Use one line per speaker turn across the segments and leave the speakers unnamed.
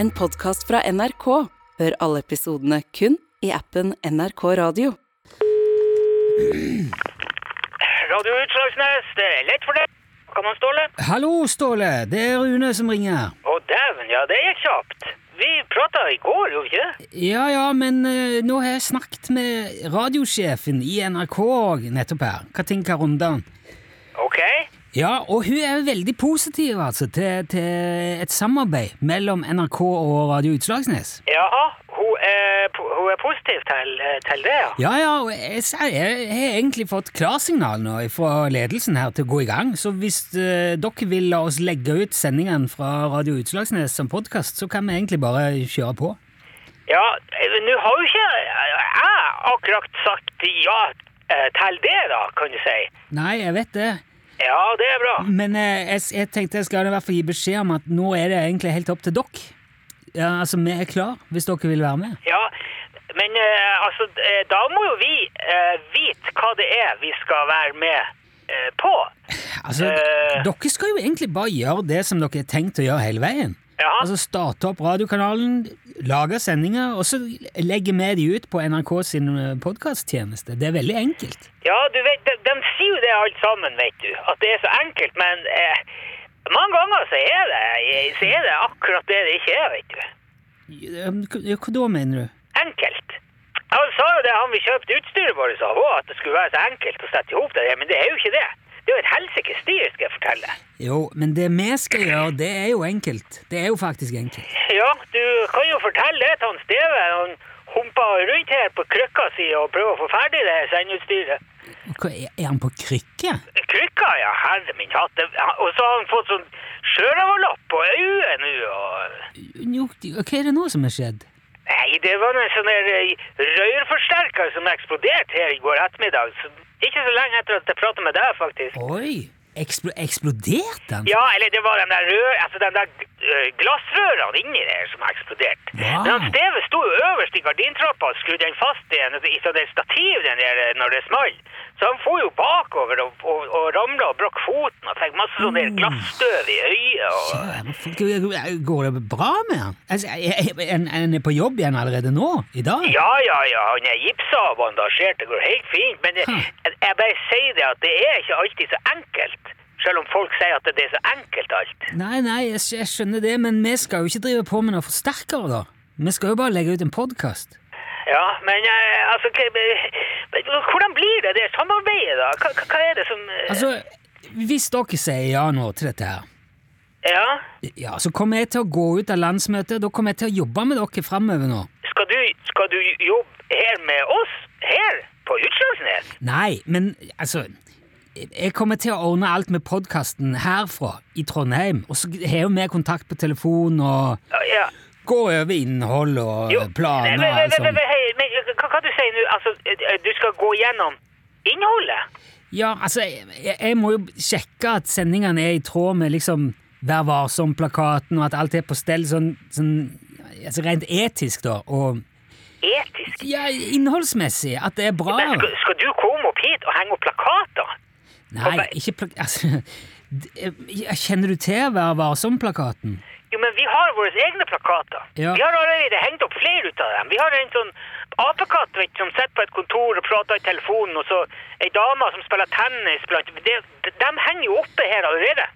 En podkast fra NRK. Hør alle episodene kun i appen NRK Radio.
Radio Utslagsnes, det er lett for deg. Kan man ståle?
Hallo, Ståle. Det er Rune som ringer.
Å, dæven, ja, det gikk kjapt. Vi prata i går, gjorde vi ikke det?
Ja, ja, men eh, nå har jeg snakket med radiosjefen i NRK og nettopp her, Katinka Rundan.
Ok.
Ja, og hun er veldig positiv altså, til, til et samarbeid mellom NRK og Radio Utslagsnes.
Jaha, hun er, po- hun er positiv til, eh, til det, ja.
Ja, ja, og jeg, sier- jeg har egentlig fått klarsignal nå fra ledelsen her til å gå i gang, så hvis eh, dere vil la oss legge ut sendingen fra Radio Utslagsnes som podkast, så kan vi egentlig bare kjøre på.
Ja, eh, nå har jo ikke eh, jeg akkurat sagt ja eh, til det, da, kan du si.
Nei, jeg vet det.
Ja, det er bra.
Men eh, jeg, jeg tenkte jeg skal i hvert fall gi beskjed om at nå er det egentlig helt opp til dere. Ja, altså, vi er klar hvis dere vil være med.
Ja, men eh, altså, eh, da må jo vi eh, vite hva det er vi skal være med eh, på.
Altså,
Eh.
Dere skal jo egentlig bare gjøre det som dere har tenkt å gjøre hele veien.
Ja.
Altså Starte opp radiokanalen, lage sendinger, og så legge med de ut på NRK sin podkasttjeneste. Det er veldig enkelt.
Ja, du vet, de, de sier jo det alt sammen, vet du. At det er så enkelt, men eh, mange ganger så er, det, så er det akkurat det det ikke er, vet du.
Ja, men Hva ja, hva da, mener du?
Enkelt. Han sa jo det han vi kjøpte utstyret vårt sa, også, at det skulle være så enkelt å sette i hop det der, men det er jo ikke det. Det er jo et helsikes styr, skal jeg fortelle. deg.
Jo, men det vi skal gjøre, det er jo enkelt. Det er jo faktisk enkelt.
Ja, du kan jo fortelle det til han Steve. Han humpa rundt her på krykka si og prøver å få ferdig det her sendeutstyret.
Hva, er er han på krykke?
Krykka, ja, herre min hatt. Det- Og så har han fått sånn sjørøverlapp på øyet nå og
Jo, hva er det nå som har skjedd?
Nei, det var en sånn der eh, rørforsterker som eksploderte her i går ettermiddag. Så ikke så lenge etter at jeg pratet med deg, faktisk.
Oi! Eksplo eksploderte den?
Ja, eller det var den der rør... Altså, den der eh, glassrørene inni der som eksploderte.
Wow.
Men han Steve sto jo øverst i gardintrappa og skrudde den fast i en i sånn der stativ den der eh, når det small. Så han for jo bakover og, og, og ramla og brakk foten og fikk masse sånn der glassstøv i øyet og
Søren, folk- Går det bra med han? Altså, er- er- en- En er på jobb igjen allerede nå? I dag?
Ja, ja, ja, han er gipsa og bandasjert, det går helt fint, men jeg, jeg bare sier det at det er ikke alltid så enkelt, selv om folk sier at det er så enkelt alt.
Nei, nei, jeg, skj- jeg skjønner det, men vi skal jo ikke drive på med noe forsterkere, da. Vi skal jo bare legge ut en podkast.
Ja, men eh, altså, hva- men hvordan blir det det samarbeidet da? Hva, hva- hva er det som... eh,
Altså, hvis dere sier ja nå til dette her,
Ja,
ja, så kommer jeg til å gå ut av landsmøtet. Da kommer jeg til å jobbe med dere framover nå.
skal du, skal du jobbe her med oss? Her? På Utslagsnes?
Nei, men altså Jeg kommer til å ordne alt med podkasten herfra, i Trondheim. Og så har jo vi kontakt på telefon og
Ja, Ja.
Gå over innhold og
Jo,
planer
men-
og
men-
alt
men-
sånt.
men- hei, men Hva hva du sier nå? Altså, eh, du skal gå gjennom innholdet?
Ja, altså, jeg, jeg må jo sjekke at sendingene er i tråd med liksom Vær varsom-plakaten, og at alt er på stell sånn, sånn altså rent etisk, da, og
Etisk?
ja, innholdsmessig. At det er bra.
Men skal, skal du komme opp hit og henge opp plakater?
Nei, ikke plak... Altså, d- jeg- kjenner du til Vær varsom-plakaten?
Jo, men vi har våre egne plakater.
Ja.
Vi har allerede hengt opp flere ut av dem. Vi har en sånn apekatt vet, du, som sitter på et kontor og prater i telefonen, og så ei dame som spiller tennis blant De, de, de henger jo oppe her allerede.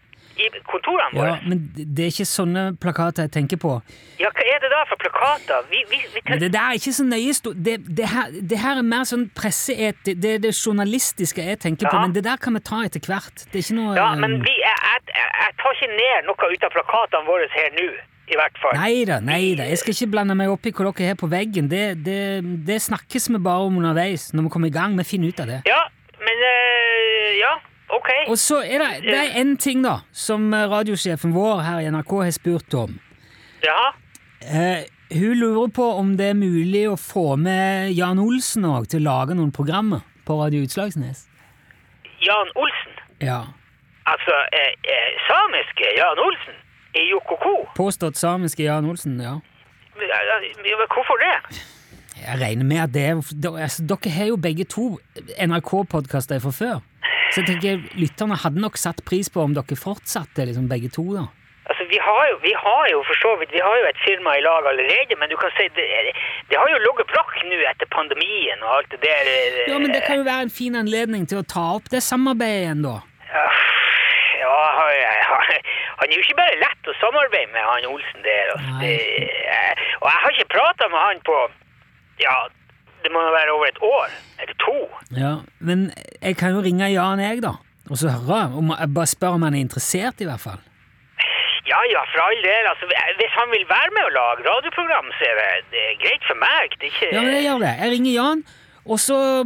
I kontorene våre.
Ja, men d- det er ikke sånne plakater jeg tenker på.
Ja. hva er det da for plakater? Vi, vi, vi
Men det der er ikke så nøye sto- det, det, her, det her er mer sånn presseet... Det det er det journalistiske jeg tenker på,
Ja.
men det der kan vi ta etter hvert. Det er ikke noe...
Ja,
eh,
men vi, jeg, jeg, jeg- jeg tar ikke ned noe ut av plakatene våre her nå, i hvert fall.
Nei da, nei da. Jeg skal ikke blande meg opp i hva dere har på veggen. Det, det, det snakkes vi bare om underveis når vi kommer i gang. Vi finner ut av det.
Ja, men eh, Ja, OK.
Og så er det, det er en ting, da, som eh, radiosjefen vår her i NRK har spurt om.
Jaha.
Eh, hun lurer på om det er mulig å få med Jan Olsen òg til å lage noen programmer på Radio Utslagsnes.
Jan Olsen.
Ja.
Altså, eh, eh, samiske Jan Olsen i Jokoko?
Påstått samiske Jan Olsen, ja.
Men, eh, eh, Hvorfor det?
Jeg regner med at det er da- altså, Dere har jo begge to NRK-podkaster fra før. Så jeg tenker lytterne hadde nok satt pris på om dere fortsatte liksom begge to, da.
Altså, vi har, jo, vi har jo for så vidt vi har jo et firma i lag allerede, men du kan si det, eh, det har jo ligget brakk nå etter pandemien og alt det der. eh,
Ja, men det kan jo være en fin anledning til å ta opp det samarbeidet igjen, da.
Ja, eh, ah, ja, han- han- han er jo ikke bare lett å samarbeide med, han Olsen der. Altså.
Nei.
Det, eh, og jeg har ikke prata med han på Ja, det må være over et år. Eller to.
Ja, Men jeg kan jo ringe Jan, jeg, da. Og så høre. Om, jeg bare spør om han er interessert, i hvert fall.
Ja ja, for all del. Altså, hvis han vil være med og lage radioprogram, så er det, det er greit for meg. Det er ikke
Ja, men jeg gjør det. Jeg ringer Jan, og så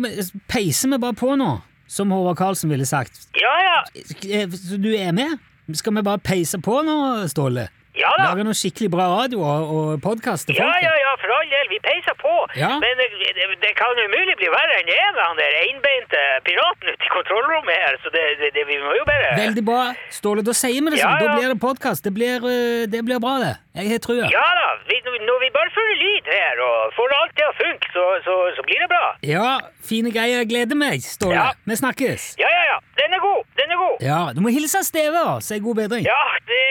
peiser vi bare på nå. Som Håvard Karlsen ville sagt.
Ja ja.
Eh, Så du er med? Skal vi bare peise på nå, Ståle?
Ja da.
Lage noe skikkelig bra radio og, og podkast til
Ja,
folket?
ja, ja, for all del, vi peiser på.
Ja.
Men eh, det, det, det kan jo umulig bli verre enn det er med han der einbeinte piraten ute i kontrollrommet her, så det, det, det, vi må jo bare
Veldig bra, Ståle. Da sier vi det sånn.
Ja, ja.
Da blir det podkast. Det, blir, eh, det blir bra, det. Jeg har trua.
Ja da, vi, når vi bare fører lyd her og får alt til å funke, så, så, så blir det bra.
Ja, fine greier. Jeg gleder meg, Ståle.
Ja.
Vi snakkes.
Ja, ja, ja. Den er god. Den er god.
Ja, Du må hilse Steve og si god bedring.
Ja, det,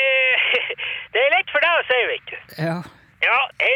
det er lett for deg å si, vet du.
Ja.
Ja, hei